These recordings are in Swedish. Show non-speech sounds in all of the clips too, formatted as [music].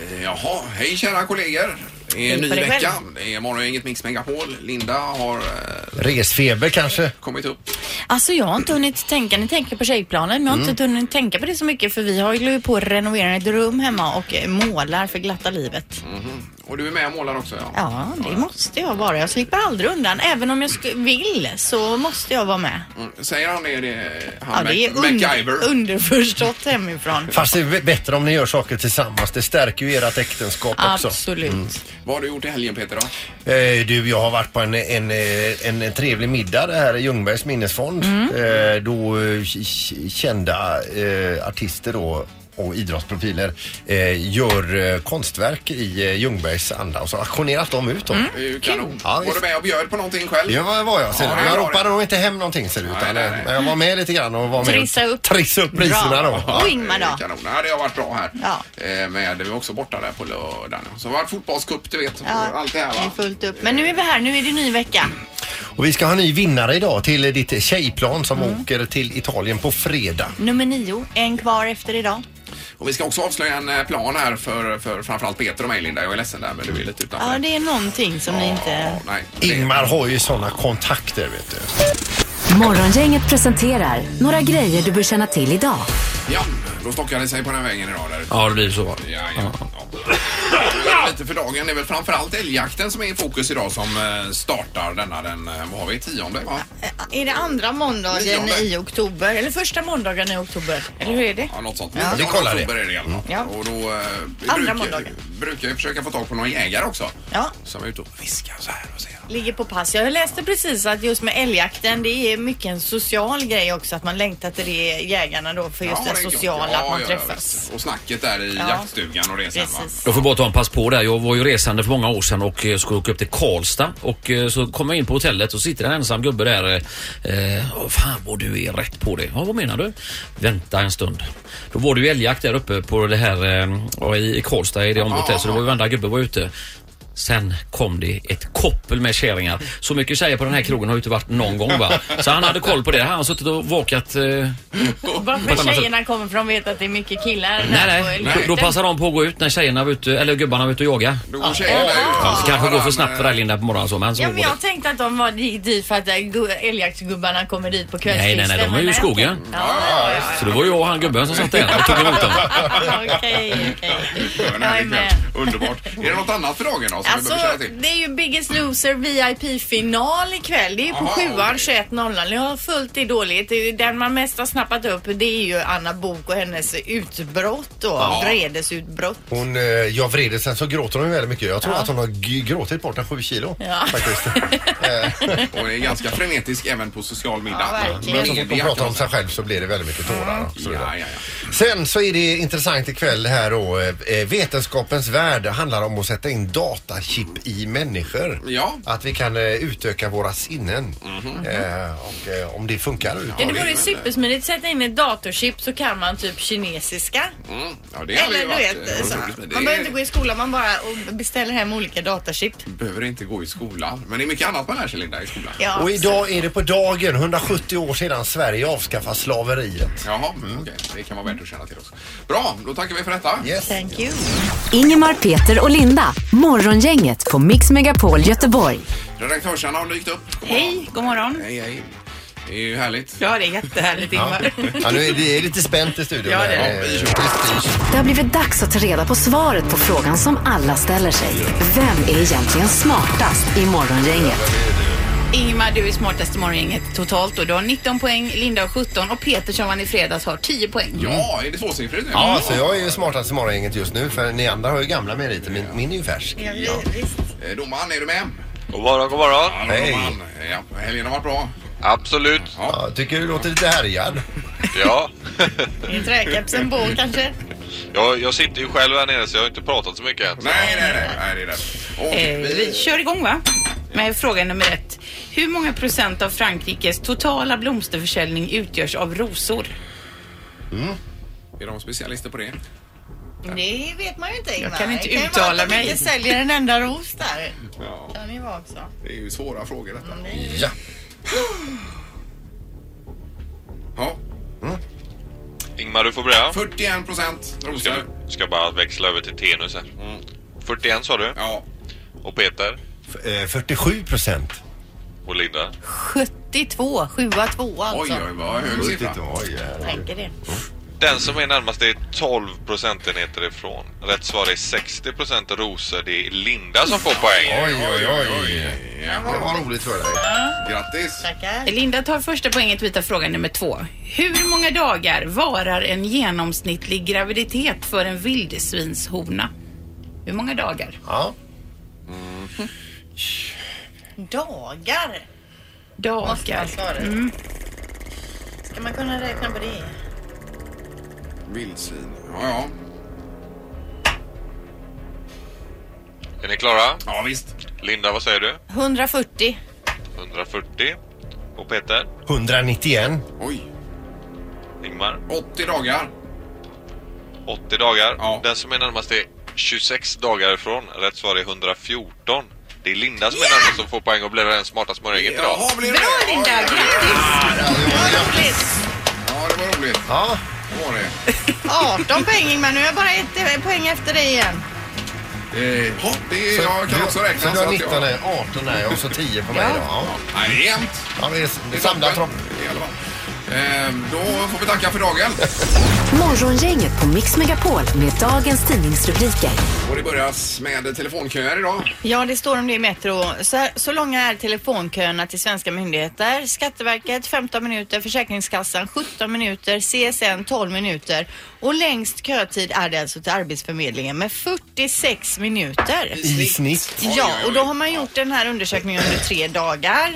Eh, Hej kära kollegor! Det är en Hej ny på dig vecka. själv. Det är morgon, inget Mix Megapol. Linda har eh, Resfeber kanske? kommit upp. Alltså jag har inte hunnit tänka, ni tänker på tjejplanen, men jag har inte Mm. hunnit tänka på det så mycket för vi har ju hållit på att renovera ett rum hemma och eh, målar för glatta livet. Mhm. Och du är med och målar också ja. Ja, det måste jag vara. Jag slipper aldrig undan. Även om jag sku- vill så måste jag vara med. Mm. Säger han det? det Ja, han det är Mac- under, MacGyver. underförstått hemifrån. Fast det är bättre om ni gör saker tillsammans. Det stärker ju ert äktenskap också. Absolut. Vad har du gjort i helgen Peter då? Eh, du, jag har varit på en, en, eh, en trevlig middag det här i Ljungbergs minnesfond. Mm. Eh, då eh, k- k- kända eh, artister då och idrottsprofiler eh, gör eh, konstverk i eh, Ljungbergs anda och så auktionerat de ut dem. Det är ju kanon. Ja, var visst. du med och bjöd på någonting själv? Ja, det var jag. Ser Ja, du. det jag var ropade det. nog inte hem någonting ser det ut. Nej, utan, eh, nej, nej. Men jag var med lite grann och var med Trissa och upp. trissa upp priserna då. Bra. Ja. Och Ingmar Det är då? Kanon. Ja, det har varit bra här. Ja. Eh, Med, vi var också borta där på lördagen. Så var det fotbollscup du vet. Och allt det här det är va? fullt upp. Men nu är vi här, nu är det ny vecka. Och vi ska ha en ny vinnare idag till eh, ditt tjejplan som Mm. åker till Italien på fredag. Nummer nio, en kvar efter idag. Och vi ska också avslöja en eh, plan här för, för framförallt Peter och mig Linda. Jag är ledsen där men du är lite utanför. Ja, det är någonting som ni inte... Ja, nej. Ingmar har ju sådana kontakter vet du. Morgongänget presenterar några grejer du bör känna till idag. Ja, då stockade det sig på den här vägen idag där ute. Ja, det blir så. Ja, ja, ja. Lite för dagen. Det är väl framförallt älgjakten som är i fokus idag som eh, startar denna den, eh, vad har vi, tionde va? Är det andra måndagen Nionde. i oktober? Eller första måndagen i oktober? Eller hur är det? Ja, något sånt. Ja. Vi kollar det. oktober Är det i alla fall. Ja. Och då eh, vi Andra brukar, måndagen. brukar jag försöka få tag på någon jägare också. Ja. Som är ute och fiskar så här och ser. Ligger på pass. Jag läste precis att just med älgjakten, det är mycket en social grej också. Att man längtar till det jägarna då för just Ja, det är gott. sociala, Ja, att man ja, ja, träffas. visst. och snacket där i Ja. jaktstugan och det sen va? Precis. Jag får bara ta en pass på där. Jag var ju resande för många år sedan och eh, skulle åka upp till Karlstad och eh, så kom jag in på hotellet och sitter en ensam gubbe där. eh, eh, "Åh, Fan vad du är rätt på det. Ja, vad menar du? Vänta en stund. Då var det ju älgjakt där uppe på det här eh, ja, i i Karlstad i det området där, så det var ju varenda gubbe var ute. Sen kom det ett koppel med kärringar. Så mycket tjejer på den här krogen har ju inte varit någon gång va. Så han hade koll på det. Han har suttit och vakat eh, På Varför samma sätt. tjejerna kommer från vet att det är mycket killar där Nej, på nej. älgjakten. Då, då passar de på att gå ut när tjejerna var ute, eller gubbarna var ute och jaga. Då går tjejerna ut. Ja, Så det kanske har går för han, snabbt för eh, dig Linda på morgonen så, men så Ja, går men det. jag tänkte att de var gick dit för att eh, gu- älgjaktsgubbarna kommer dit på Nej, nej, kvällskvisten. nej, de är men ju i skogen. Ja, ja, ja, Så det var ju jag och han gubben som satt där och tog emot dem. ja. [laughs] Okej, okej. [laughs] Ja, Jag nej, är det är med. klart. Underbart. Är det något annat för dagen då som vi Alltså, behöver känna till? det är ju Biggest Loser VIP-final ikväll. Det är ju på Aha, sjuan okej. 21.00. Jag har följt det dåligt. Det är Den man mest har snappat upp det är ju Anna Bok och hennes utbrott då. Vredesutbrott. Hon, eh, jag vrider sen så gråter hon ju väldigt mycket. Jag tror att hon har g- gråtit bort en sju kilo. Ja. [laughs] Faktiskt. Eh, Och det är ganska frenetisk även på social middag. Ja, verkligen. Men så fort hon pratar om sig själv så blir det väldigt mycket tårar. och så Ja, vidare. ja, ja. Sen så är det intressant ikväll här då. eh, Vetenskapens värld Det handlar om att sätta in datachip i människor. Ja. Mhm. Att vi kan eh, utöka våra sinnen. Eh, och eh, om det funkar. Ja, Ja. det vore väl- ju supersmidigt. Sätta in ett datorchip så kan man typ kinesiska. Mm. ja det hade Eller ju du varit, eh, vet, så. otroligt, men det man behöver inte gå i skolan, man bara och beställer hem olika datorchip. behöver inte gå i skolan. Men det är mycket annat man lär sig Linda i skolan. Ja, Och idag är det på dagen 170 år sedan Sverige avskaffade slaveriet. Jaha, mm, okej. Det kan vara värt att känna till också. Bra, då tackar vi för detta. Yes. Thank you. Ingemar, Peter och Linda. Morgongänget på Mix Megapol Göteborg. Redaktörsarna har dykt upp. God morgon. Hej, god morgon. Hej, hej. Det är ju härligt. Ja, det är jättehärligt Ingmar. Ja, nu är det är lite spänt i studion. Ja, det är här. det. Eh, prestige. Det har blivit dags att ta reda på svaret på frågan som alla ställer sig. Vem är egentligen smartast i Morgongänget? Ingmar, du är smartast i morgongänget totalt och du har 19 poäng, Linda har 17 och Peter som vann i fredags har 10 poäng. Ja, är det tvåsiffrigt nu? Ja, alltså jag är ju smartast i morgongänget just nu för ni andra har ju gamla meriter. Min, min är ju färsk. Eh, Domaren, är du med? God morgon, god morgon. Hallå, Hej. domaren. Ja, helgen har varit bra. Absolut. Ja, tycker du låter lite härjad. Ja. [laughs] Är träkepsen på kanske? Jag, jag sitter ju själv här nere så jag har inte pratat så mycket än. Nej, nej, nej. nej det är det. Och Eh, vi vi... kör igång va? Med fråga nummer ett. Hur många procent av Frankrikes totala blomsterförsäljning utgörs av rosor? Är de specialister på det? Det vet man ju inte Ingmar. Jag kan inte Det ju vara att uttala de mig. inte säljer en enda ros där. Ja, Kan ju vara också. det är ju svåra frågor detta. Mm. Ja. Ja, Ingmar, du får börja. 41 procent Ska, rosor. ska bara växla över till tenus här. 41 sa du. Mm. Ja. Och Peter. F- eh, 47 procent. Och Linda. 72, 7 2 Oj, alltså. oj, vad hög siffra. Tänker det. Den som är närmast är 12 procentenheter ifrån. Rätt svar är 60 procent rosor. Det är Linda som får poäng. Oj, oj, oj. Ja, Det var roligt för dig. grattis. Tackar. Linda tar första poängen till vita fråga nummer två. Hur många dagar varar en genomsnittlig graviditet för en vildsvinshona? Hur många dagar? Ja. Dagar. Mm. Dagar. Svaret. Ska man kunna räkna på det? Vildsvin. Ja, ja. Är ni klara? Ja, visst. Linda, vad säger du? 140. 140. Och Peter? 191. Oj. Ingmar? 80 dagar. 80 dagar. Ja. Den som är närmast är 26 dagar ifrån. Rätt svar är 114. Det är Linda som är närmast som får poäng och blir den smarta smörängen idag. Jaha, blir det Bra det? Linda, Oj, oj, oj. grattis! Ja, det var roligt. Ja. Det var det. 18 poäng Ingmar, nu är jag bara ett poäng efter dig igen. Eh, ja, det är, jag kan Du- också räkna. Så du så har eh, att 19 jag, här, 18 här och så 10 på mig Ja. då. Ja. Nej, det är jämnt. Ja, vi Det är är samlar toppen, tropp. i alla fall. Eh, då får vi tacka [laughs] för dagen. Morgongänget på Mix Megapol med dagens tidningsrubriker. Och det börjas med telefonköer idag. Ja, det står om det i Metro. Så, här, så långa är telefonköerna till svenska myndigheter. Skatteverket 15 minuter, Försäkringskassan 17 minuter, CSN 12 minuter. Och längst kötid är det alltså till Arbetsförmedlingen med 46 minuter. I snitt. Oj, Ja, oj, oj. och då har man gjort den här undersökningen under tre dagar.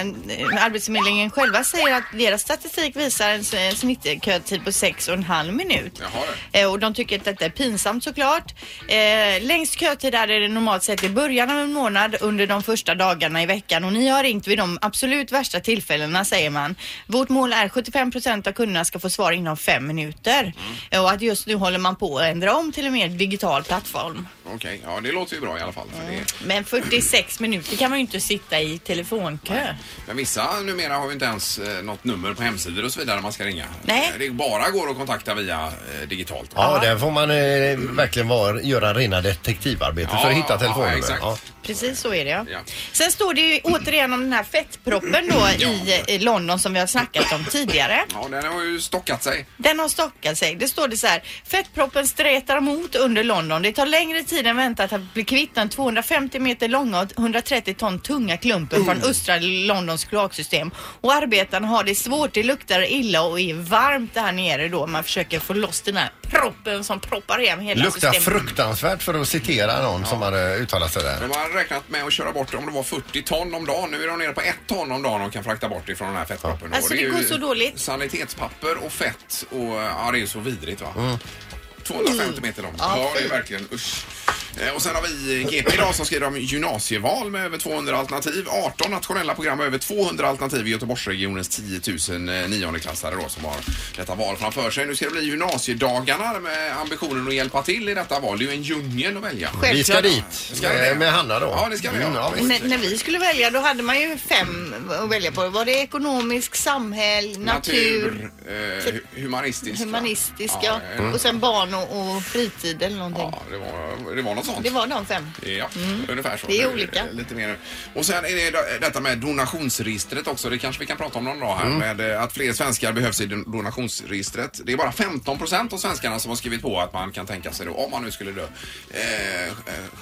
Eh, Arbetsförmedlingen själva säger att deras statistik visar en s- en snittkötid på sex och en halv minut. Jaha. Eh, och de tycker att detta är pinsamt såklart. Eh, längst kötid är det normalt sett i början av en månad under de första dagarna i veckan och ni har ringt vid de absolut värsta tillfällena säger man. Vårt mål är 75 procent av kunderna ska få svar inom fem minuter. Eh, och att just nu håller man på att ändra om till en mer digital plattform. Okej, ja det låter ju bra i alla fall. För det, Men 46 minuter kan man ju inte sitta i telefonkö. men vissa numera har ju inte ens eh, något nummer på hemsidor och så vidare man ska ringa. Nej. Eh, Det bara går att kontakta via eh, digitalt. Ja, där får man eh, verkligen vara, göra rena detektivarbete för att hitta Ja, telefonnummer. exakt. Ja. Precis så är det ja. Ja. Sen står det ju återigen om den här fettproppen då i, i London som vi har snackat om tidigare. Ja, den har ju stockat sig. Den har stockat sig. Det står det så här. Fettproppen stretar mot under London. Det tar längre tid än väntat att bli kvitt den 250 meter långa och 130 ton tunga klumpen från östra Londons kloaksystem. Och arbetarna har det svårt. Det luktar illa och är varmt där nere då. Man försöker få loss den här proppen som proppar igen hela Luktar systemet. fruktansvärt för att citera någon som hade uttalat sig där. De har räknat med att köra bort om det var 40 ton om dagen. Nu är de nere på 1 ton om dagen de kan frakta bort ifrån den här fettproppen. Och Alltså, det är ju går så dåligt. Sanitetspapper och fett och ja, det är ju så vidrigt va. 250 meter långt. Ja, det är verkligen usch. Eh, Och sen har vi GP idag som skriver om gymnasieval med över 200 alternativ. 18 nationella program och över 200 alternativ i Göteborgsregionens 10 000 eh, niondeklassare då som har detta val framför sig. Nu ska det bli gymnasiedagarna med ambitionen att hjälpa till i detta val. Det är ju en djungel att välja. Vi ska Självklart. dit Ska vi det? eh, med Hanna då. Ja, det ska vi göra. Mm, ja, visst. När, när vi skulle välja då hade man ju fem att välja på. Var det ekonomisk, samhäll, natur, typ eh, hu- humanistisk. va? humanistiska Ja, eh, och sen barn och, och fritid eller någonting. ja det, var, det var något sånt. Det var de fem. Ja, ungefär så. Det är Nu- olika. Lite mer. Och sen är det d- detta med donationsregistret också. Det kanske vi kan prata om någon dag här med eh, att fler svenskar behövs i don- donationsregistret. Det är bara 15 procent av svenskarna som har skrivit på att man kan tänka sig då, om man nu skulle dö, eh, eh,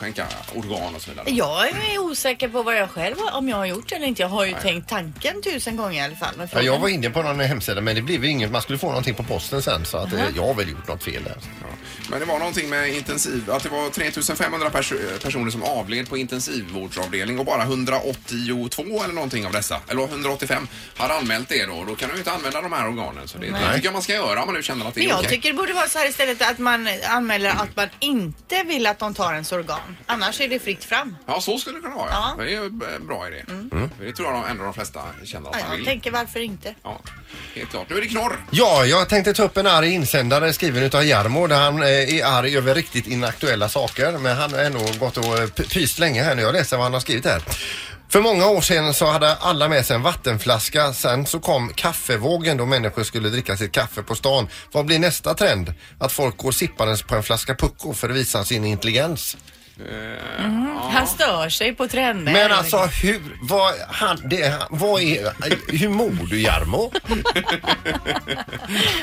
skänka organ och så vidare. Jag är osäker på vad jag själv har- om jag har gjort eller inte. Jag har ju tänkt tanken tusen gånger i alla fall. men Ja, jag frågan- var inne på någon hemsida men det blev ju inget. Man skulle få någonting på posten sen så att eh, jag har väl gjort något fel där. Ja. Men det var någonting med intensiv, att det var 3500 pers personer som avled på intensivvårdsavdelning och bara 182 eller någonting av dessa, eller 185, har anmält det då. Då kan du ju inte använda de här organen. Så det, det tycker jag man ska göra om man nu känner att det Men är jag okej. tycker det borde vara så här istället att man anmäler att man inte vill att de tar ens organ. Annars är det fritt fram. Ja, så skulle det kunna vara. Ja. Ja. Mm. Det är ju b- bra idé. För Det tror jag de- ändå de flesta känner Ja, att man jag vill. tänker varför inte? Ja, helt klart. Nu är det knorr. Ja, jag tänkte ta upp en arg insändare skriven utav Jarmo där han eh, är arg över riktigt inaktuella saker. Men han har ändå gått och eh, p- pyst länge här nu. Jag läser vad han har skrivit här. För många år sedan så hade alla med sig en vattenflaska. Sen så kom kaffevågen då människor skulle dricka sitt kaffe på stan. Vad blir nästa trend? Att folk går sippandes på en flaska Pucko för att visa sin intelligens. Eh, Han stör sig på trender. Men alltså hur, vad, han, det, vad är, hur mår du Jarmo?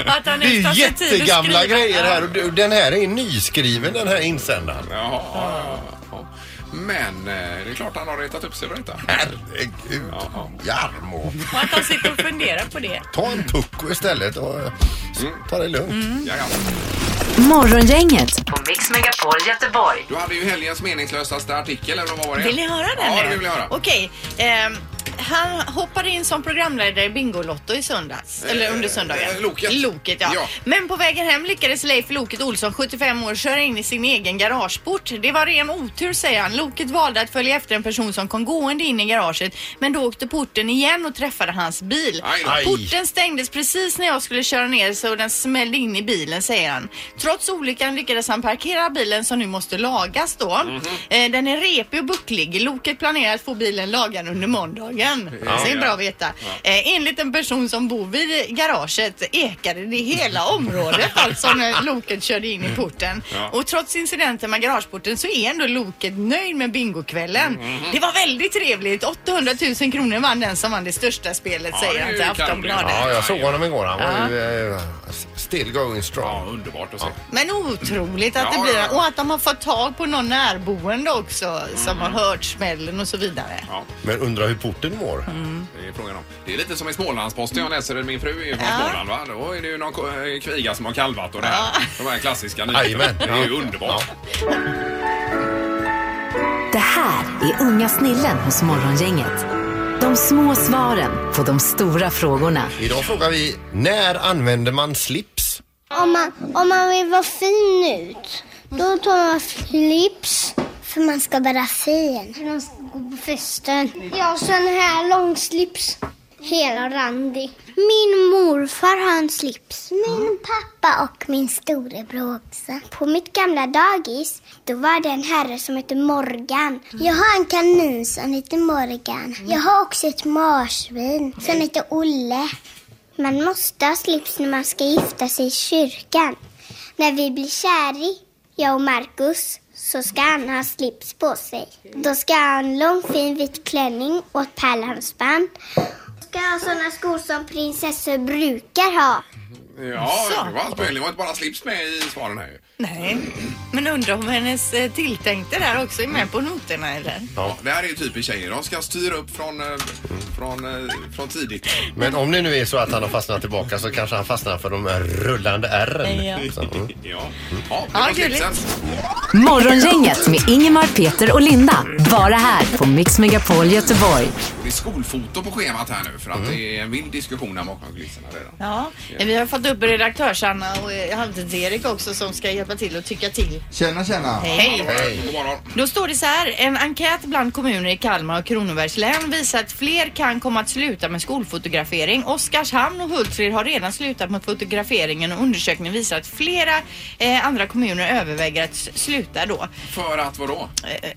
Att han Det är nästan ju ser tid att jättegamla skriva. grejer här och du- den här är nyskriven den här insändaren. Ja, ja, ja. Men eh, det är klart han har retat upp sig över detta. Herregud, Ja. Jarmo. Och att han sitter och funderar på det. Ta en pucko istället och ta det lugnt. Ja, ja. Morgongänget På Mix Megapol Göteborg. Du hade ju helgens meningslösaste artikel, eller vad var det? Vill ni höra den Ja, nu? det vill jag höra. Okej. ehm, han hoppade in som programledare i Bingolotto i söndags. Eller under söndagen. eh, Loket. Loket, ja. Ja. Men på vägen hem lyckades Leif Loket Olsson, 75 år, köra in i sin egen garageport. Det var ren otur, säger han. Loket valde att följa efter en person som kom gående in i garaget. Men då åkte porten igen och träffade hans bil. Aj då. Aj. Porten stängdes precis när jag skulle köra ner så den smällde in i bilen, säger han. Trots olyckan lyckades han parkera bilen som nu måste lagas då. Mhm. Eh, Den är repig och bucklig. Loket planerar att få bilen lagad under måndagen. Det är bra att veta. Eh, Enligt en person som bor vid garaget ekade det hela området alltså när loket körde in i porten. Och trots incidenten med garageporten så är ändå loket nöjd med bingokvällen. Mm, Det var väldigt trevligt. 800 000 kronor vann den som vann det största spelet Ja, det säger är han ju till kanon. Aftonbladet. Ja, jag såg honom igår. Han var ju eh, still going Ja, strong. underbart att se. Men otroligt att Ja, det blir ja, ja. och att de har fått tag på någon närboende också som har hört smällen och så vidare. Ja, Men undrar hur porten mår. det är frågan om. Det är lite som i Smålandsposten jag läser, min fru är ju från Ja. Småland va? Då är det ju någon ko- eh, kviga som har kalvat och det här. De här klassiska nyheterna. Jajamän. Det är ju underbart. Det här är unga snillen hos Morgongänget. De små svaren på de stora frågorna. Idag frågar vi, när använder man slips? Om man, om man vill vara fin ut, då tar man slips. För man ska vara fin. För man ska gå på festen. Jag har sån här lång slips. Hela randig. Min morfar har en slips. Min pappa och min storebror också. På mitt gamla dagis, då var det en herre som hette Morgan. Jag har en kanin som heter Morgan. Jag har också ett marsvin som heter Olle. Man måste ha slips när man ska gifta sig i kyrkan. När vi blir käri, jag och Markus, så ska han ha slips på sig. Då ska han ha en lång fin vit klänning och ett pärlhalsband. Ska ha sådana skor som prinsessor brukar ha. Ja, det var allt möjligt. Det var inte bara slips med i svaren här ju. Nej, men undrar om hennes eh, tilltänkte där också är med på noterna eller? Ja, det här är ju typiskt tjejer. De ska styra upp från, eh, från, eh, från tidigt. Men om det nu är så att han har fastnat tillbaka så kanske han fastnar för de här rullande ärren. Ja. Så, mm. Ja, ja det Ja, var gulligt. slipsen. Morgongänget med Ingemar, Peter och Linda. Bara här på Mix Megapol Göteborg. Det är skolfoto på schemat här nu för Mm. att det är en vild diskussion här bakom kulisserna redan. Ja, vi har fått upp redaktörs-Anna och eh, halvtids-Erik också som ska hjälpa till och tycka till. Tjena, tjena. Hej! God morgon. Då står det så här. En enkät bland kommuner i Kalmar och Kronobergs län visar att fler kan komma att sluta med skolfotografering. Oskarshamn och Hultsfred har redan slutat med fotograferingen och undersökningen visar att flera eh, andra kommuner överväger att s- sluta då. För att vadå?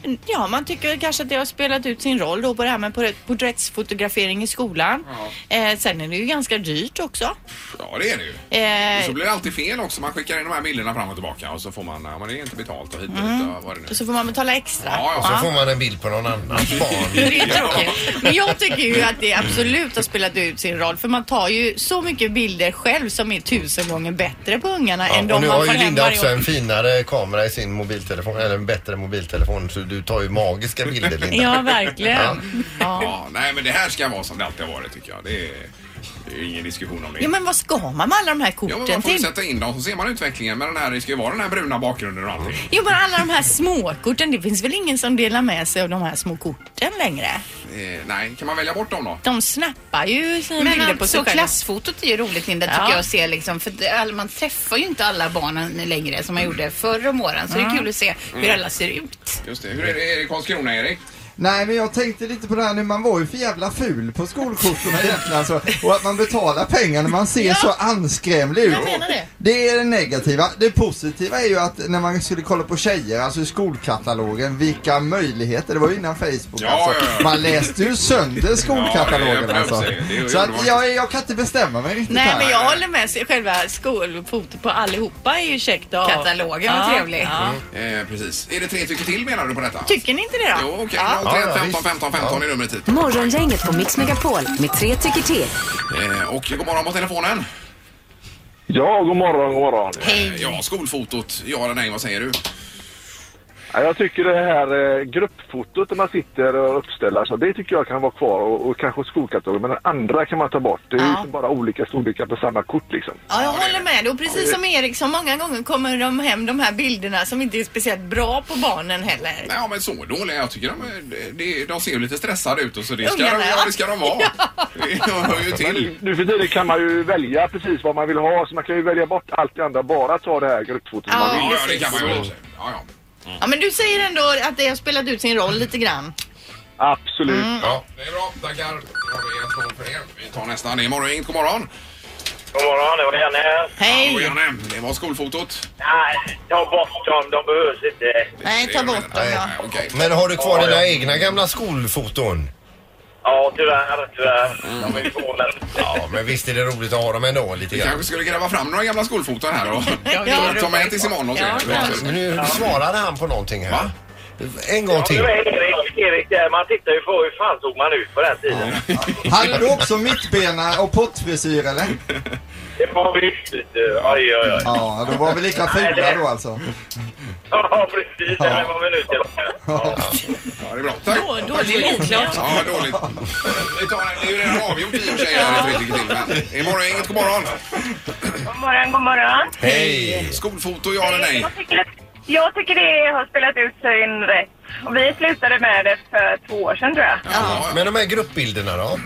Eh, Ja, man tycker kanske att det har spelat ut sin roll då på det här med porträtt- porträttsfotografering i skolan. Eh, sen är det ju ganska dyrt också. Ja, det är det ju. Och så Eh, blir det alltid fel också. Man skickar in de här bilderna fram och tillbaka och så får man, ja, men det är inte betalt och hit och dit Mm. och vad det nu är. så får man betala extra. Ja, ja. så får man en bild på någon annans barn. Det är tråkigt. Men jag tycker ju att det absolut har spelat ut sin roll för man tar ju så mycket bilder själv som är tusen gånger bättre på ungarna än Ja, och de nu man har får ju hem Linda varje också år. en finare kamera i sin mobiltelefon, eller en bättre mobiltelefon, så du tar ju magiska [laughs] bilder Linda. Ja, verkligen. Ja. ja, nej men det här ska vara som det alltid har varit tycker jag. Det är, det är ingen diskussion om det. ja, men vad ska man med alla de här Ja, men korten man får ju till? sätta in dem så ser man utvecklingen. Men den här, det ska ju vara den här bruna bakgrunden och allting. Jo, men alla de här småkorten, det finns väl ingen som delar med sig av de här små korten längre? Eh, nej, kan man välja bort dem då? De snappar ju sina Men bilder på sig alltså själva. klassfotot är ju roligt Linda tycker Ja. jag att se liksom. För det- all- man träffar ju inte alla barnen längre Mm. som man gjorde förr om åren. Så det är kul att se hur alla ser ut. Just det. Hur är det i Karlskrona, Erik? Nej, men jag tänkte lite på det här nu, man var ju för jävla ful på skolkorten egentligen alltså. Och att man betalar pengar när man ser Ja. så anskrämlig ut. Jag menar det. Det är det negativa. Det positiva är ju att när man skulle kolla på tjejer, alltså i skolkatalogen, vilka möjligheter. Det var ju innan Facebook Ja, alltså. ja, ja. Man läste ju sönder Ja, skolkatalogen det är alltså. det jag Så att säger. Det jag, jag kan inte bestämma mig riktigt Nej, här. men jag håller med. sig. Själva skolfotot på allihopa är ju käckt att ha. Katalogen var Ja, trevlig. ja. Eh, precis. Är det tre tycker till menar du på detta? Tycker ni inte det då? Jo, okej. Ja. Ja, 03 ja, 15 15 15 är numret hit. Morgongänget på Mix Megapol med tre tycker till. Eh, och god morgon på telefonen. Ja, god morgon, god morgon. Eh, Ja, skolfotot. Ja eller nej, vad säger du? Ja, Jag tycker det här eh, gruppfotot där man sitter och uppställer så det tycker jag kan vara kvar och, och kanske skolkatalogen. Men den andra kan man ta bort. Det är Ja. ju bara olika storlekar på samma kort liksom. Ja, jag håller med. Och precis som Erik så många gånger kommer de hem de här bilderna som inte är speciellt bra på barnen heller. Nej, ja, men så dåliga. Jag tycker de, är- det- de ser ju lite stressade ut och så det ska, de, Ungarna, ja. ja, det ska de [laughs] vara. Det hör ju Men till. nu- nu för tiden kan man ju välja precis vad man vill ha så man kan ju välja bort allt det andra. Bara ta det här gruppfotot. Ja. man vill. Ja, ja, det kan man ju också. Ja, ja. Ja, men du säger ändå att det har spelat ut sin roll lite grann. Absolut. Ja, det är bra. Tackar. Då har vi ett från för er. Vi tar nästa. Det är morgon. God morgon. God morgon, det var Janne här. Och Hej! Janne, det var skolfotot. Nej, ta bort dem, de behövs inte. Nej, ta bort dem Nej, ja. nej, Eh, Okej. Men har du kvar Ja, dina ja. egna gamla skolfoton? Ja, tyvärr, tyvärr. De är förvånade. Ja, men visst är det roligt att ha dem ändå lite Vi grann. kanske skulle gräva fram några gamla skolfoton här och Ja. ta med till Simon och så. Ja, kanske. Men nu svarade han på någonting här. Va? En gång Ja, till. nu är Erik, Erik där. Man tittar ju på hur fan såg man ut på den tiden. Hade du också mittbena och pottfrisyr eller? Det var viktigt. Oj, oj, oj. Ja, då var vi lika fula då alltså. Ja, precis. Det här var minuten. Ja. Ja, det är bra. Tack. Då- Dålig minklart. Ja, dåligt. Vi tar, det är ju redan avgjort i och för sig. här, det är riktigt till, men Det är morgon. Inget god morgon. God morgon, god morgon. Hej! Skolfoto, ja eller nej? Jag tycker, jag tycker det har spelat ut sin rätt. Och vi slutade med det för två år sedan tror jag. Ja, Men de här gruppbilderna då?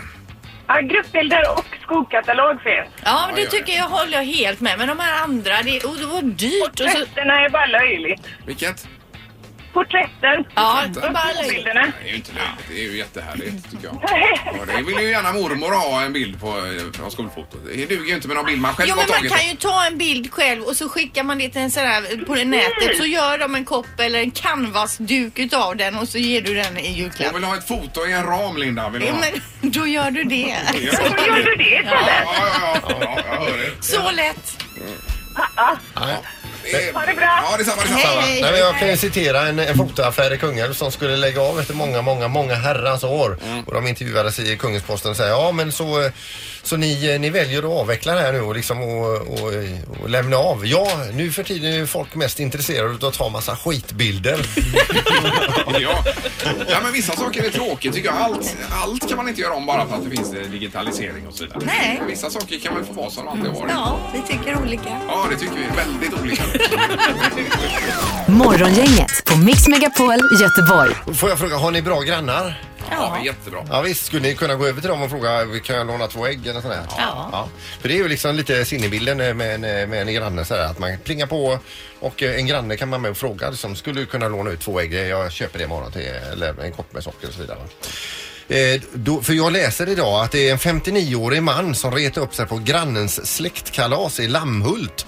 Ja, gruppbilder och skolkatalog finns. Ja, Ja, det ja, tycker jag håller jag helt med. Men de här andra, det, och det var dyrt och så... Resten är bara löjligt. vilket? Porträtten. Ja, det var och bara löjligt. skolbilderna. Det är ju inte löjligt. Det är ju jättehärligt tycker jag. Ja, det vill ju gärna mormor ha en bild på eh, från skolfotot. Det duger ju inte med någon bild man själv Jo har men man tagit. kan ju ta en bild själv och så skickar man det till en sån här på nätet så gör de en kopp eller en canvasduk utav den och så ger du den i Jag julklapp. vill ha ett foto i en ram, Linda. Vill du Jo ha? men då gör du det. Ja, Då gör du det ja, istället. ja, ja, ja, jag hör det. Så lätt. Nej. det. är- Ha det bra. Ja, detsamma, detsamma. Hej. Nej, men jag kan ju citera en, en fotoaffär i Kungälv som skulle lägga av efter många, många, många herrans år. Och de intervjuades i Kungensposten och säger ja men så, eh, så ni, eh, ni väljer att avveckla det här nu och, liksom och, och, eh, och lämna av. Ja, nu för tiden är ju folk mest intresserade av att ta massa skitbilder. Ja. ja, men vissa saker är tråkiga tycker jag. Allt, allt kan man inte göra om bara för att det finns eh, digitalisering och så vidare. Nej. Vissa saker kan väl få vara som de alltid har varit. Ja, vi tycker olika. Ja, det tycker vi. är Väldigt olika. Morgongänget på Mix Megapol Göteborg. Får jag fråga, har ni bra grannar? Ja, men jättebra. Ja visst, skulle ni kunna gå över till dem och fråga kan jag låna två ägg eller sådär? Ja. För det är ju liksom lite sinnebilden eh, med en, eh, med en granne sådär att man plingar på och eh, en granne kan man med och fråga liksom, skulle du kunna låna ut två ägg? Jag köper det imorgon till eller en kopp med socker och så vidare. Eh, då, för jag läser idag att det är en 59-årig man som retar upp sig på grannens släktkalas i Lammhult.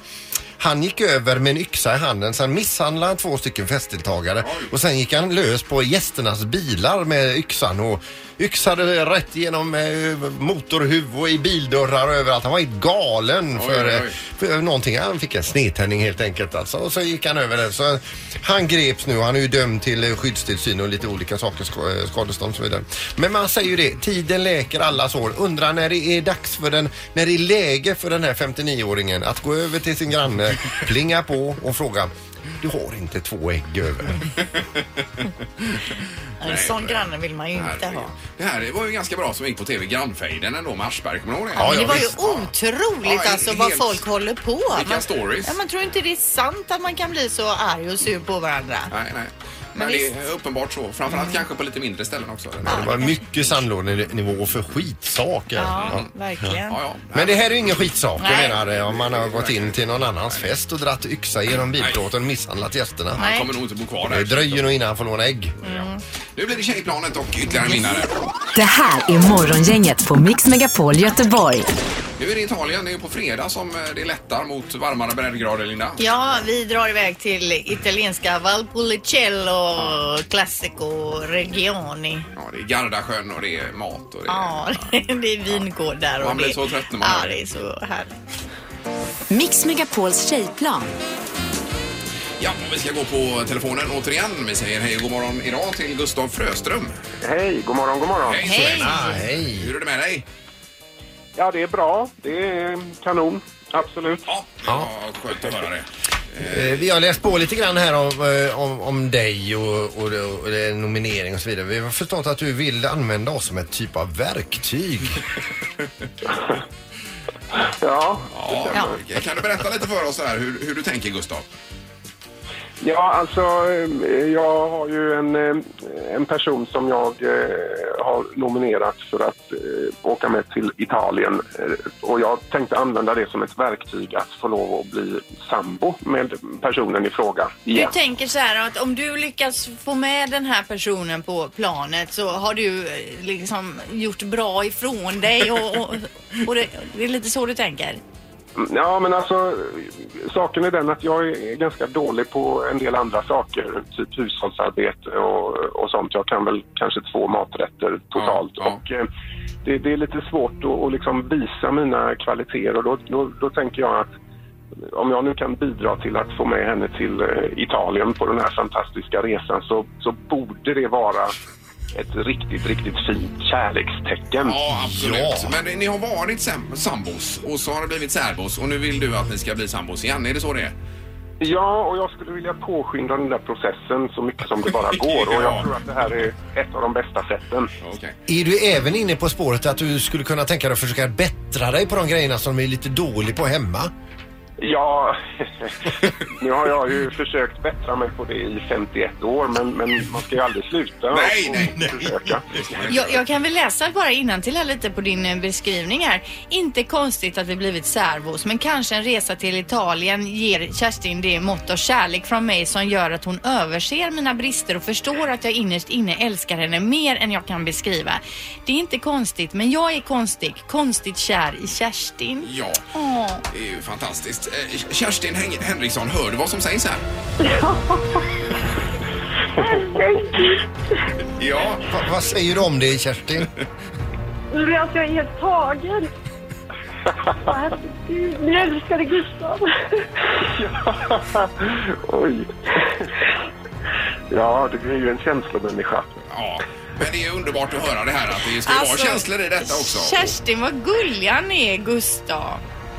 Han gick över med en yxa i handen, sen misshandlade han två stycken festdeltagare och sen gick han lös på gästernas bilar med yxan och yxade rätt genom eh, motorhuv och i bildörrar och överallt. Han var helt galen Oj, för, oj, eh, oj. för någonting. Han fick en snedtändning helt enkelt alltså. och så gick han över det. Så han greps nu och han är ju dömd till eh, skyddstillsyn och lite olika saker, sk- eh, skadestånd och så vidare. Men man säger ju det, tiden läker alla sår. Undrar när det är dags för den, när det är läge för den här 59-åringen att gå över till sin granne, plinga på och fråga du har inte två ägg över. En sån granne vill man ju inte ha. Det här var ju ganska bra som gick på tv, Grannfejden ändå med Aschberg. Kommer du ihåg det? Ja, Men det var ju visst. otroligt Ja, alltså helt- vad folk håller på. Vilka Man- stories. Ja, man tror inte det är sant att man kan bli så arg och sur på varandra. Nej, nej. Men, Men Mm. det är uppenbart så. Framförallt kanske på lite mindre ställen också. Det var mycket sandlådenivå för skitsaker. Ja, Ja. verkligen. Ja, ja. Men det här är ju ingen skitsak. Nej. Jag menar eh, om man har gått in till någon annans fest och dratt yxa genom bilplåten och misshandlat gästerna. Han kommer nog inte bo kvar Det där. dröjer nog innan han får låna ägg. Ja. Nu blir det Tjejplanet och ytterligare en vinnare. Det här är Morgongänget på Mix Megapol Göteborg. Nu är det Italien, det är på fredag som eh, det lättar mot varmare breddgrader, Linda. Ja, vi drar iväg till italienska Valpolicella Classico Regioni. Ja, det är Gardasjön och det är mat och det är... Ja, [laughs] det är vingårdar och Man blir det- så trött när man Ja, hör det. det är så härligt. Mix Megapols tjejplan. Ja, och vi ska gå på telefonen återigen. Vi säger hej och god morgon idag till Gustav Fröström. Hej, god morgon, god morgon. Hej! Ah, Susanna. Hur är det med dig? Ja, det är bra. Det är kanon. Absolut. Ja, ja. skönt att höra det. Eh, Vi har läst på lite grann här om, eh, om, om dig och, och, och det är nominering och så vidare. Vi har förstått att du vill använda oss som ett typ av verktyg. ja. Ja. Kan du berätta lite för oss här hur, hur du tänker, Gustav? Ja, alltså eh, jag har ju en, eh, en person som jag eh, har nominerat för att eh, åka med till Italien eh, och jag tänkte använda det som ett verktyg att få lov att bli sambo med personen i fråga. Du tänker så här att om du lyckas få med den här personen på planet så har du eh, liksom gjort bra ifrån dig och, och, och det, det är lite så du tänker? Ja, men alltså saken är den att jag är ganska dålig på en del andra saker, typ hushållsarbete och, och sånt. Jag kan väl kanske två maträtter totalt. Och, eh, det, det är lite svårt att, att liksom visa mina kvaliteter och då, då, då tänker jag att om jag nu kan bidra till att få med henne till eh, Italien på den här fantastiska resan så, så borde det vara ett riktigt, riktigt fint kärlekstecken. Ja, absolut. Men ni har varit sam- sambos och så har det blivit särbos och nu vill du att ni ska bli sambos igen. Är det så det är? Ja, och jag skulle vilja påskynda den där processen så mycket som det [laughs] bara går. Och jag tror att det här är ett av de bästa sätten. Är du även inne på spåret att du skulle kunna tänka dig att försöka bättra dig på de grejerna som du är lite dålig på hemma? Ja, [laughs] nu har jag ju försökt bättra mig på det i 51 år, men, men man ska ju aldrig sluta nej, nej, nej. försöka. Jag, jag kan väl läsa bara innantill här lite på din eh, beskrivning här. Inte konstigt att vi blivit särbos, men kanske en resa till Italien ger Kerstin det mått av kärlek från mig som gör att hon överser mina brister och förstår att jag innerst inne älskar henne mer än jag kan beskriva. Det är inte konstigt, men jag är konstig. Konstigt kär i Kerstin. Ja. Åh. Det är ju fantastiskt. Eh, Kerstin Hen- Henriksson, hör du vad som sägs här? Ja. Va, vad säger du om det Kerstin? Nu blir alltså jag helt tagen. Herregud, min älskade [laughs] Gustav. Oj. Ja, du är ju en känslomänniska. Ja, men det är underbart att höra det här att det ska vara Alltså, känslor i detta också. Kerstin, vad gullig han är, Gustav.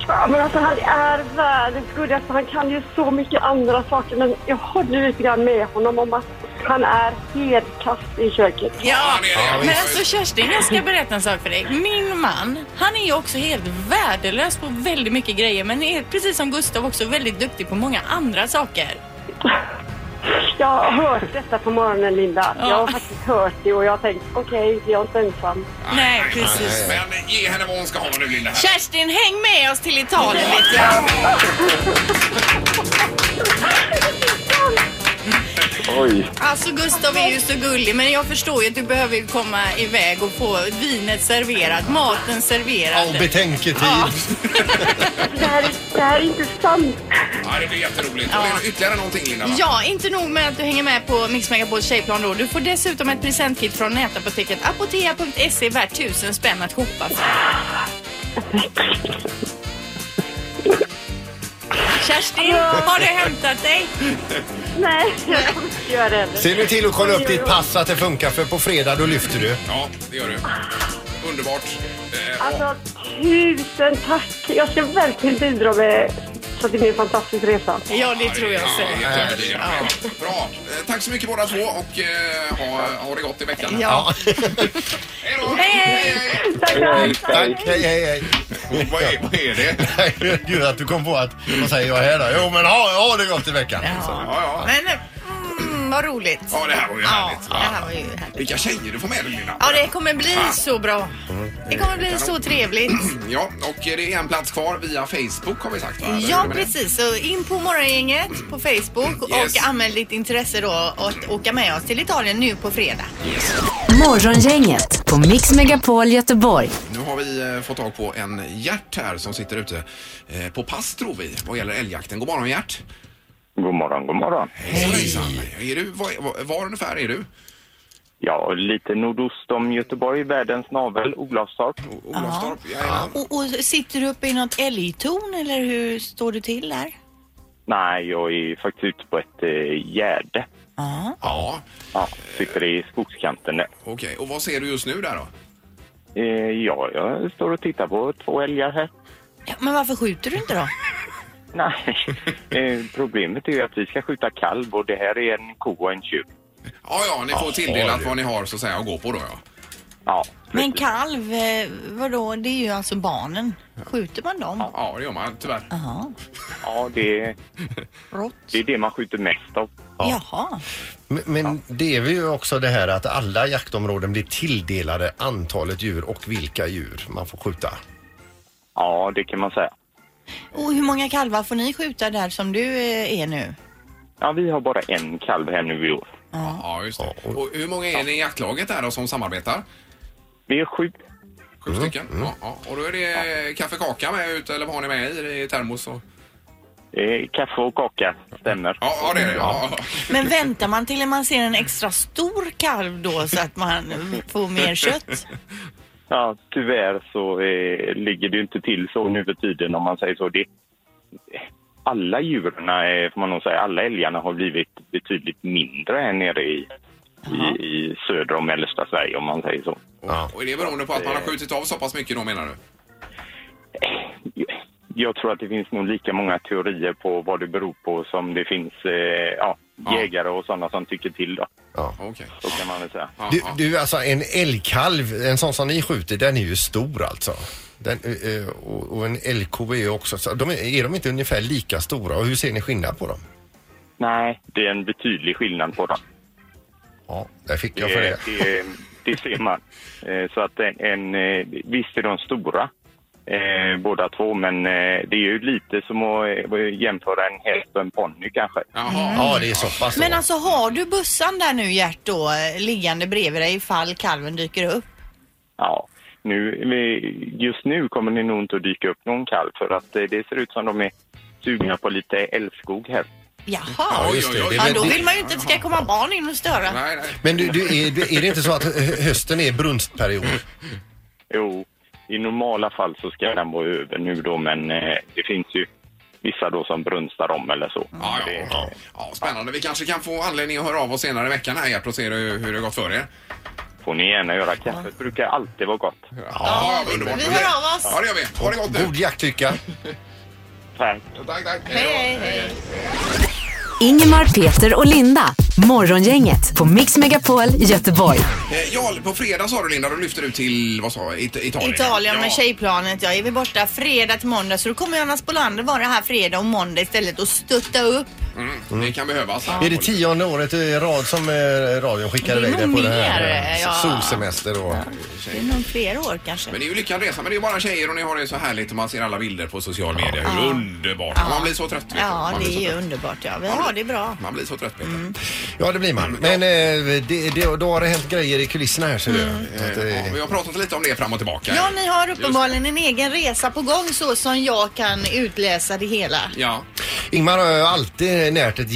Ja, men alltså, han är världens gulligaste. Alltså, Han kan ju så mycket andra saker. Men jag håller lite grann med honom om att han är helt kast i köket. Ja, Ja, men visst. alltså Kerstin, jag ska berätta en sak för dig. Min man, han är ju också helt värdelös på väldigt mycket grejer men är precis som Gustav också väldigt duktig på många andra saker. Jag har hört detta på morgonen, Linda. Jag har faktiskt hört det och jag har tänkt okej, jag är inte ensam. Nej, precis. Men ge henne vad hon ska ha nu, Linda. här. Kerstin, häng med oss till Italien vet jag. Oj. Alltså Gustav är ju så gullig men jag förstår ju att du behöver ju komma iväg och få vinet serverat, maten serverad. Och betänketid. Det här, är, det här är inte sant. Ja, det blir jätteroligt. Och det är ytterligare någonting, Linda. va? Ja, inte nog med att du hänger med på Mix Megapols tjejplan då. Du får dessutom ett presentkit från nätapoteket apotea.se värt tusen spänn att shoppa för. Kerstin, har du hämtat dig? Nej, jag kommer inte göra det. Se nu till att kolla upp ditt pass att det funkar för på fredag då lyfter du. Ja, det gör du. Underbart. Eh, Alltså, tusen tack! Jag ska verkligen bidra med så att det blir en fantastisk resa. Ja, det tror jag ja, helt övertygad. Bra. Eh, Tack så mycket båda två och eh, ha, ha det gott i veckan. här. Ja. Hej, hej. Tack, [laughs] hej, hej, hej. Vad är, vad är det? Nej, [laughs] Gud att du kom på att, vad säger jag här då? Jo men ha, ha det gott i veckan. Ja, ja. Men, mm, Mm, vad roligt. Ja, det här var ju härligt. Ja, det här var ju härligt. Vilka tjejer du får med dig Linda. Ja, det kommer bli Ah. så bra. Det kommer bli så trevligt. Ja, och det är en plats kvar via Facebook har vi sagt. va? Eller Ja, hur är det? precis. Så in på Morgongänget på Facebook Yes. och anmäl ditt intresse då att åka med oss till Italien nu på fredag. Morgongänget på Mix Megapol Göteborg. Nu har vi eh, fått tag på en Gert här som sitter ute eh, på pass tror vi vad gäller älgjakten. God morgon Gert! God morgon, god morgon. Hej! Är du, var, var, var ungefär är du? Ja, lite nordost om Göteborg, världens navel, Olofstorp. Olofstorp, Och, och sitter du uppe i något älgtorn eller hur står du till där? Nej, jag är faktiskt ute på ett eh, gärde. Ja. Ja. sitter i skogskanten där. Okej, och vad ser du just nu där då? Eh, ja, jag står och tittar på två älgar här. [laughs] Ja, men varför skjuter du inte då? Nej. eh, problemet är ju att vi ska skjuta kalv och det här är en ko och en tjur. Ja, ja, ni får Ja, tilldelat det. vad ni har så att säga att gå på då ja. Ja. [laughs] Men kalv, eh, vadå, det är ju alltså barnen. Skjuter man dem? Ja, det gör man tyvärr. Jaha. Ja, det, Rått. det är det man skjuter mest av. Jaha. Men, men det är ju också det här att alla jaktområden blir tilldelade antalet djur och vilka djur man får skjuta. Ja, det kan man säga. Och hur många kalvar får ni skjuta där som du eh, är nu? Ja, vi har bara en kalv här nu i år. Ja, ja just det. Och hur många är ni i jaktlaget där då som samarbetar? Vi är sju. Sju Mm, stycken? Ja, ja. Och då är det kaffekaka med ut eller vad har ni med i, i termos? Och... Eh, kaffe och kaka, stämmer. Ja, ja, det är det. Ja. Men väntar man till man ser en extra stor kalv då så att man får mer kött? Ja, tyvärr så eh, ligger det ju inte till så nu för tiden om man säger så. Det, alla djuren, eh, får man nog säga, alla älgarna har blivit betydligt mindre här nere i, i, i södra och mellersta Sverige om man säger så. Och är det beroende på att man har skjutit av så pass mycket då menar du? Jag tror att det finns nog lika många teorier på vad det beror på som det finns eh, ja, jägare och sådana som tycker till då. Ja. Så kan man väl säga. Du, du alltså en älgkalv, en sån som ni skjuter, den är ju stor alltså. Den, eh, eh, och, och en älgko är ju också, så de är, är de inte ungefär lika stora och hur ser ni skillnad på dem? Nej, det är en betydlig skillnad på dem. Ja, där fick eh, jag för det. det, det ser [laughs] man. Eh, Så att en, en, eh, visst är de stora, eh, båda två, men eh, det är ju lite som att eh, jämföra en häst och en ponny kanske. Ja, det är så pass. Men alltså har du bussan där nu Gert då eh, liggande bredvid dig ifall kalven dyker upp? Ja. Nu, eh, just nu kommer det nog inte att dyka upp någon kalv för att eh, det ser ut som de är sugna på lite älskog här. Jaha. Ja, just det. Det är Ja, väl- då vill man ju inte att det ska komma barn in och störa. Nej, nej. Men du, du, är, du, är det inte så att hö- hösten är brunstperiod? Jo, i normala fall så ska den vara över nu då, men eh, det finns ju vissa då som brunstar om eller så. Ja, ja, ja. ja, spännande. Vi kanske kan få anledning att höra av oss senare i veckan här Gert och se hur, hur det har gått för er. Får ni gärna göra. Kaffet brukar alltid vara gott. Ja, underbart. vi hör av oss. Ja, det gör vi. Ha det gott nu. God jakt lycka. Tack. Tack, tack. Hej, hej. Ingemar, Peter och Linda. Morgongänget på Mix Megapol Göteborg. Eh, Ja, på fredag sa du Linda, då lyfter du till, vad sa jag, It- Italien? Italien ja. med tjejplanet. Jag är väl borta fredag till måndag så då kommer Johanna Spolander vara här fredag och måndag istället och stötta upp. Mm, det kan behövas. Är det tionde året i rad som eh, radion skickar Det är iväg dig nog på den här mer, eh, ja. solsemester? Och... Det är nog fler år kanske. Men det är ju lyckad resa, men det är bara tjejer och ni har det så härligt och man ser alla bilder på social media. Hur underbart! Man blir så trött. vet du. Ja, man det blir så är ju trött. underbart. Ja, vi har det bra. Man blir så trött Peter. Ja, det blir man. Men eh, det, det, då har det hänt grejer i kulisserna här ser du. Mm. Att, eh, Ja, vi har pratat lite om det fram och tillbaka. Ja, ni har uppenbarligen en egen resa på gång så som jag kan utläsa det hela. Ja. Ingmar har ju alltid närt ett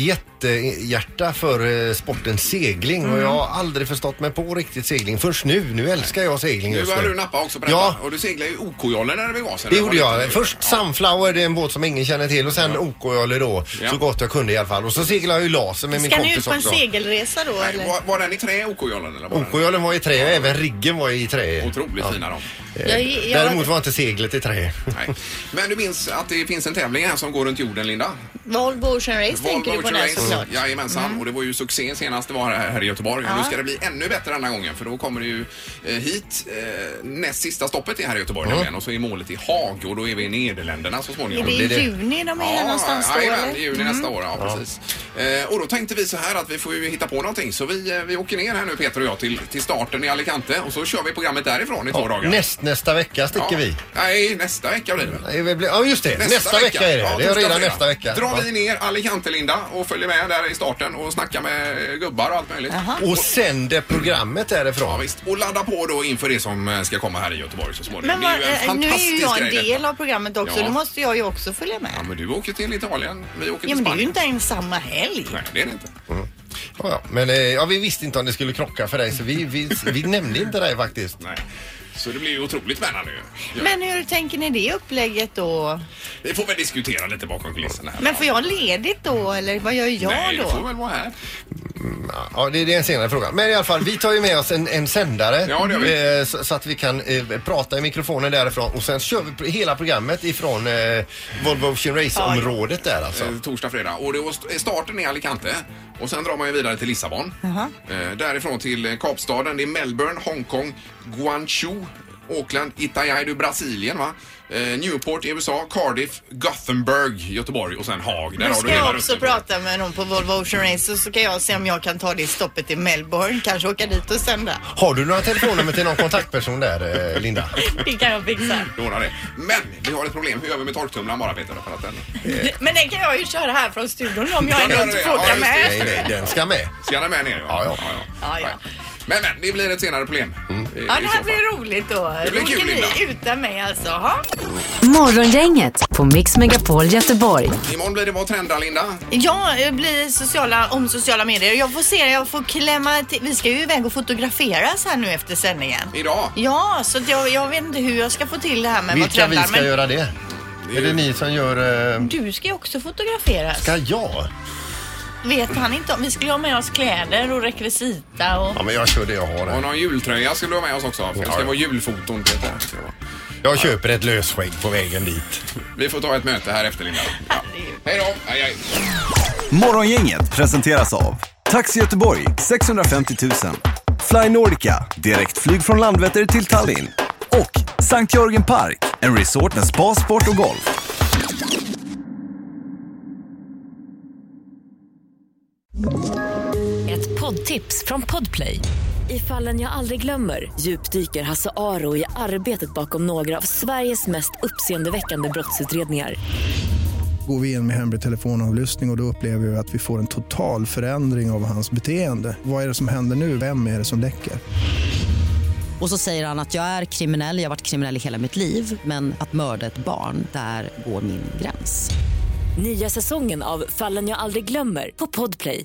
jättehjärta för eh, sporten segling Mm. och jag har aldrig förstått mig på riktigt segling först nu. Nu älskar jag segling Nu just börjar nu. du nappa också på detta. Ja. Och du seglar ju OK-jollen när det begav sig. Det När gjorde var liten. jag. Först Sunflower, det är en båt som ingen känner till och sen OK-jolle då, så gott jag kunde i alla fall. Och så seglade jag ju laser med min Ska ni kompis ut på en också. segelresa då eller? Var, var den i trä, OK-jollen? Eller var den? OK-jollen var i trä och även riggen var i trä. Otroligt fina de. Eh, Jag- jag- Däremot var inte seglet i trä. Nej. Men du minns att det finns en tävling här som går runt jorden, Linda? Volvo Ocean Race tänker du på den som klart. Jajamensan, och det var ju succé senast det var här, här i Göteborg. Ja. Nu ska det bli ännu bättre denna gången för då kommer det ju eh, hit. Eh, näst sista stoppet är här i Göteborg nämligen och så är målet i Haag och då är vi i Nederländerna så Är småningom. det i juni de är här någonstans då? Jajamän, eller? Mm. i juni nästa år. Ja, precis. Eh, och då tänkte vi så här att vi får ju hitta på någonting så vi, eh, vi åker ner här nu Peter och jag till, till starten i Alicante och så kör vi programmet därifrån i två dagar. Näst, nästa vecka sticker Ja. vi. Nej, nästa vecka blir det. Nej, vi blir- Ja, just det. Nästa, vecka. är det. Ja, det är torsdag, redan fredag. nästa vecka. Drar Ja. vi ner Alicante, Linda, och följer med där i starten och snackar med eh, gubbar och allt möjligt. Och sänder programmet därifrån. Ja, visst. Och ladda på då inför det som eh, ska komma här i Göteborg så småningom. Men vad- det är ju en eh, nu är fantastisk ju jag en grej detta. del av programmet också. Ja. Då måste jag ju också följa med. Ja, men du åker till Italien, vi åker till Ja, men det är ju Spanien. inte ens samma helg. Nej, det är det inte. Ja, ja. Men eh, ja, vi visste inte om det skulle krocka för dig så vi, vi, vi nämnde inte dig faktiskt. Nej. Så det blir ju otroligt spännande ju. Ja. Men hur tänker ni det upplägget då? Vi får väl diskutera lite bakom kulisserna här. Men får jag ledigt då eller vad gör jag Nej, då? du får väl vara här. Ja, det, det är en senare fråga. Men i alla fall, vi tar ju med oss en, en sändare Ja, det gör vi. eh, så, så att vi kan eh, prata i mikrofonen därifrån och sen kör vi pr- hela programmet ifrån eh, Volvo Ocean Race-området där alltså. Eh, Torsdag, fredag. Och det var- starten är Alicante och sen drar man ju vidare till Lissabon. Eh, därifrån till eh, Kapstaden. Det är Melbourne, Hongkong, Guangzhou, Auckland, Itaiaidu, Brasilien va? Eh, Newport i USA, Cardiff, Gothenburg, Göteborg och sen Haag. Där Nu har du ska jag hela också rutten. prata med någon på Volvo Ocean Race och så ska jag se om jag kan ta det stoppet i Melbourne. Kanske åka dit och sända. Har du några telefonnummer till någon kontaktperson där, eh, [laughs] Linda? Det kan jag fixa. Ordna det. Men vi har ett problem. Hur gör vi med torktumlaren bara Peter? För att den... Mm. Men den kan jag ju köra här från studion om jag ändå inte får åka just det. med. den ska med. Ska den med ner? Ja, ja. ja, Ja, ja. Men, men, det blir ett senare problem. Eh, Ja, i det så här fall. blir roligt då. Det blir Då kul, åker Linda. ni utan mig alltså. Ha? Morgongänget på Mix Megapol Göteborg. Imorgon blir det Vad trendar Linda? Jag eh, blir sociala, om sociala medier. Jag får se, jag får klämma till. Vi ska ju iväg och fotograferas här nu efter sändningen. Idag? Ja, så att jag, jag vet inte hur jag ska få till det här med vad Vilka vi trendar. ska göra det? Är det ni som gör... Eh, Du ska ju också fotograferas. ska jag? Vet han inte om? Vi skulle ha med oss kläder och rekvisita och... Ja, men jag kör det jag har. Och någon jultröja skulle du ha med oss också. För det ska vara julfoton. Peter. Jag köper ett lösskägg på vägen dit. Vi får ta ett möte här efter Linda. Ja. Hej då! Hej, hej. Morgongänget presenteras av Taxi Göteborg 650 000 Fly Nordica, direktflyg från Landvetter till Tallinn och Sankt Jörgen Park, en resort med spa, sport och golf. Ett poddtips från Podplay. I fallen jag aldrig glömmer djupdyker Hasse Aro i arbetet bakom några av Sveriges mest uppseendeväckande brottsutredningar. Går vi in med hemlig telefonavlyssning och, och då upplever vi att vi får en total förändring av hans beteende. Vad är det som händer nu? Vem är det som läcker? Och så säger han att jag är kriminell, jag har varit kriminell i hela mitt liv men att mörda ett barn, där går min gräns. Nya säsongen av Fallen jag aldrig glömmer på Podplay.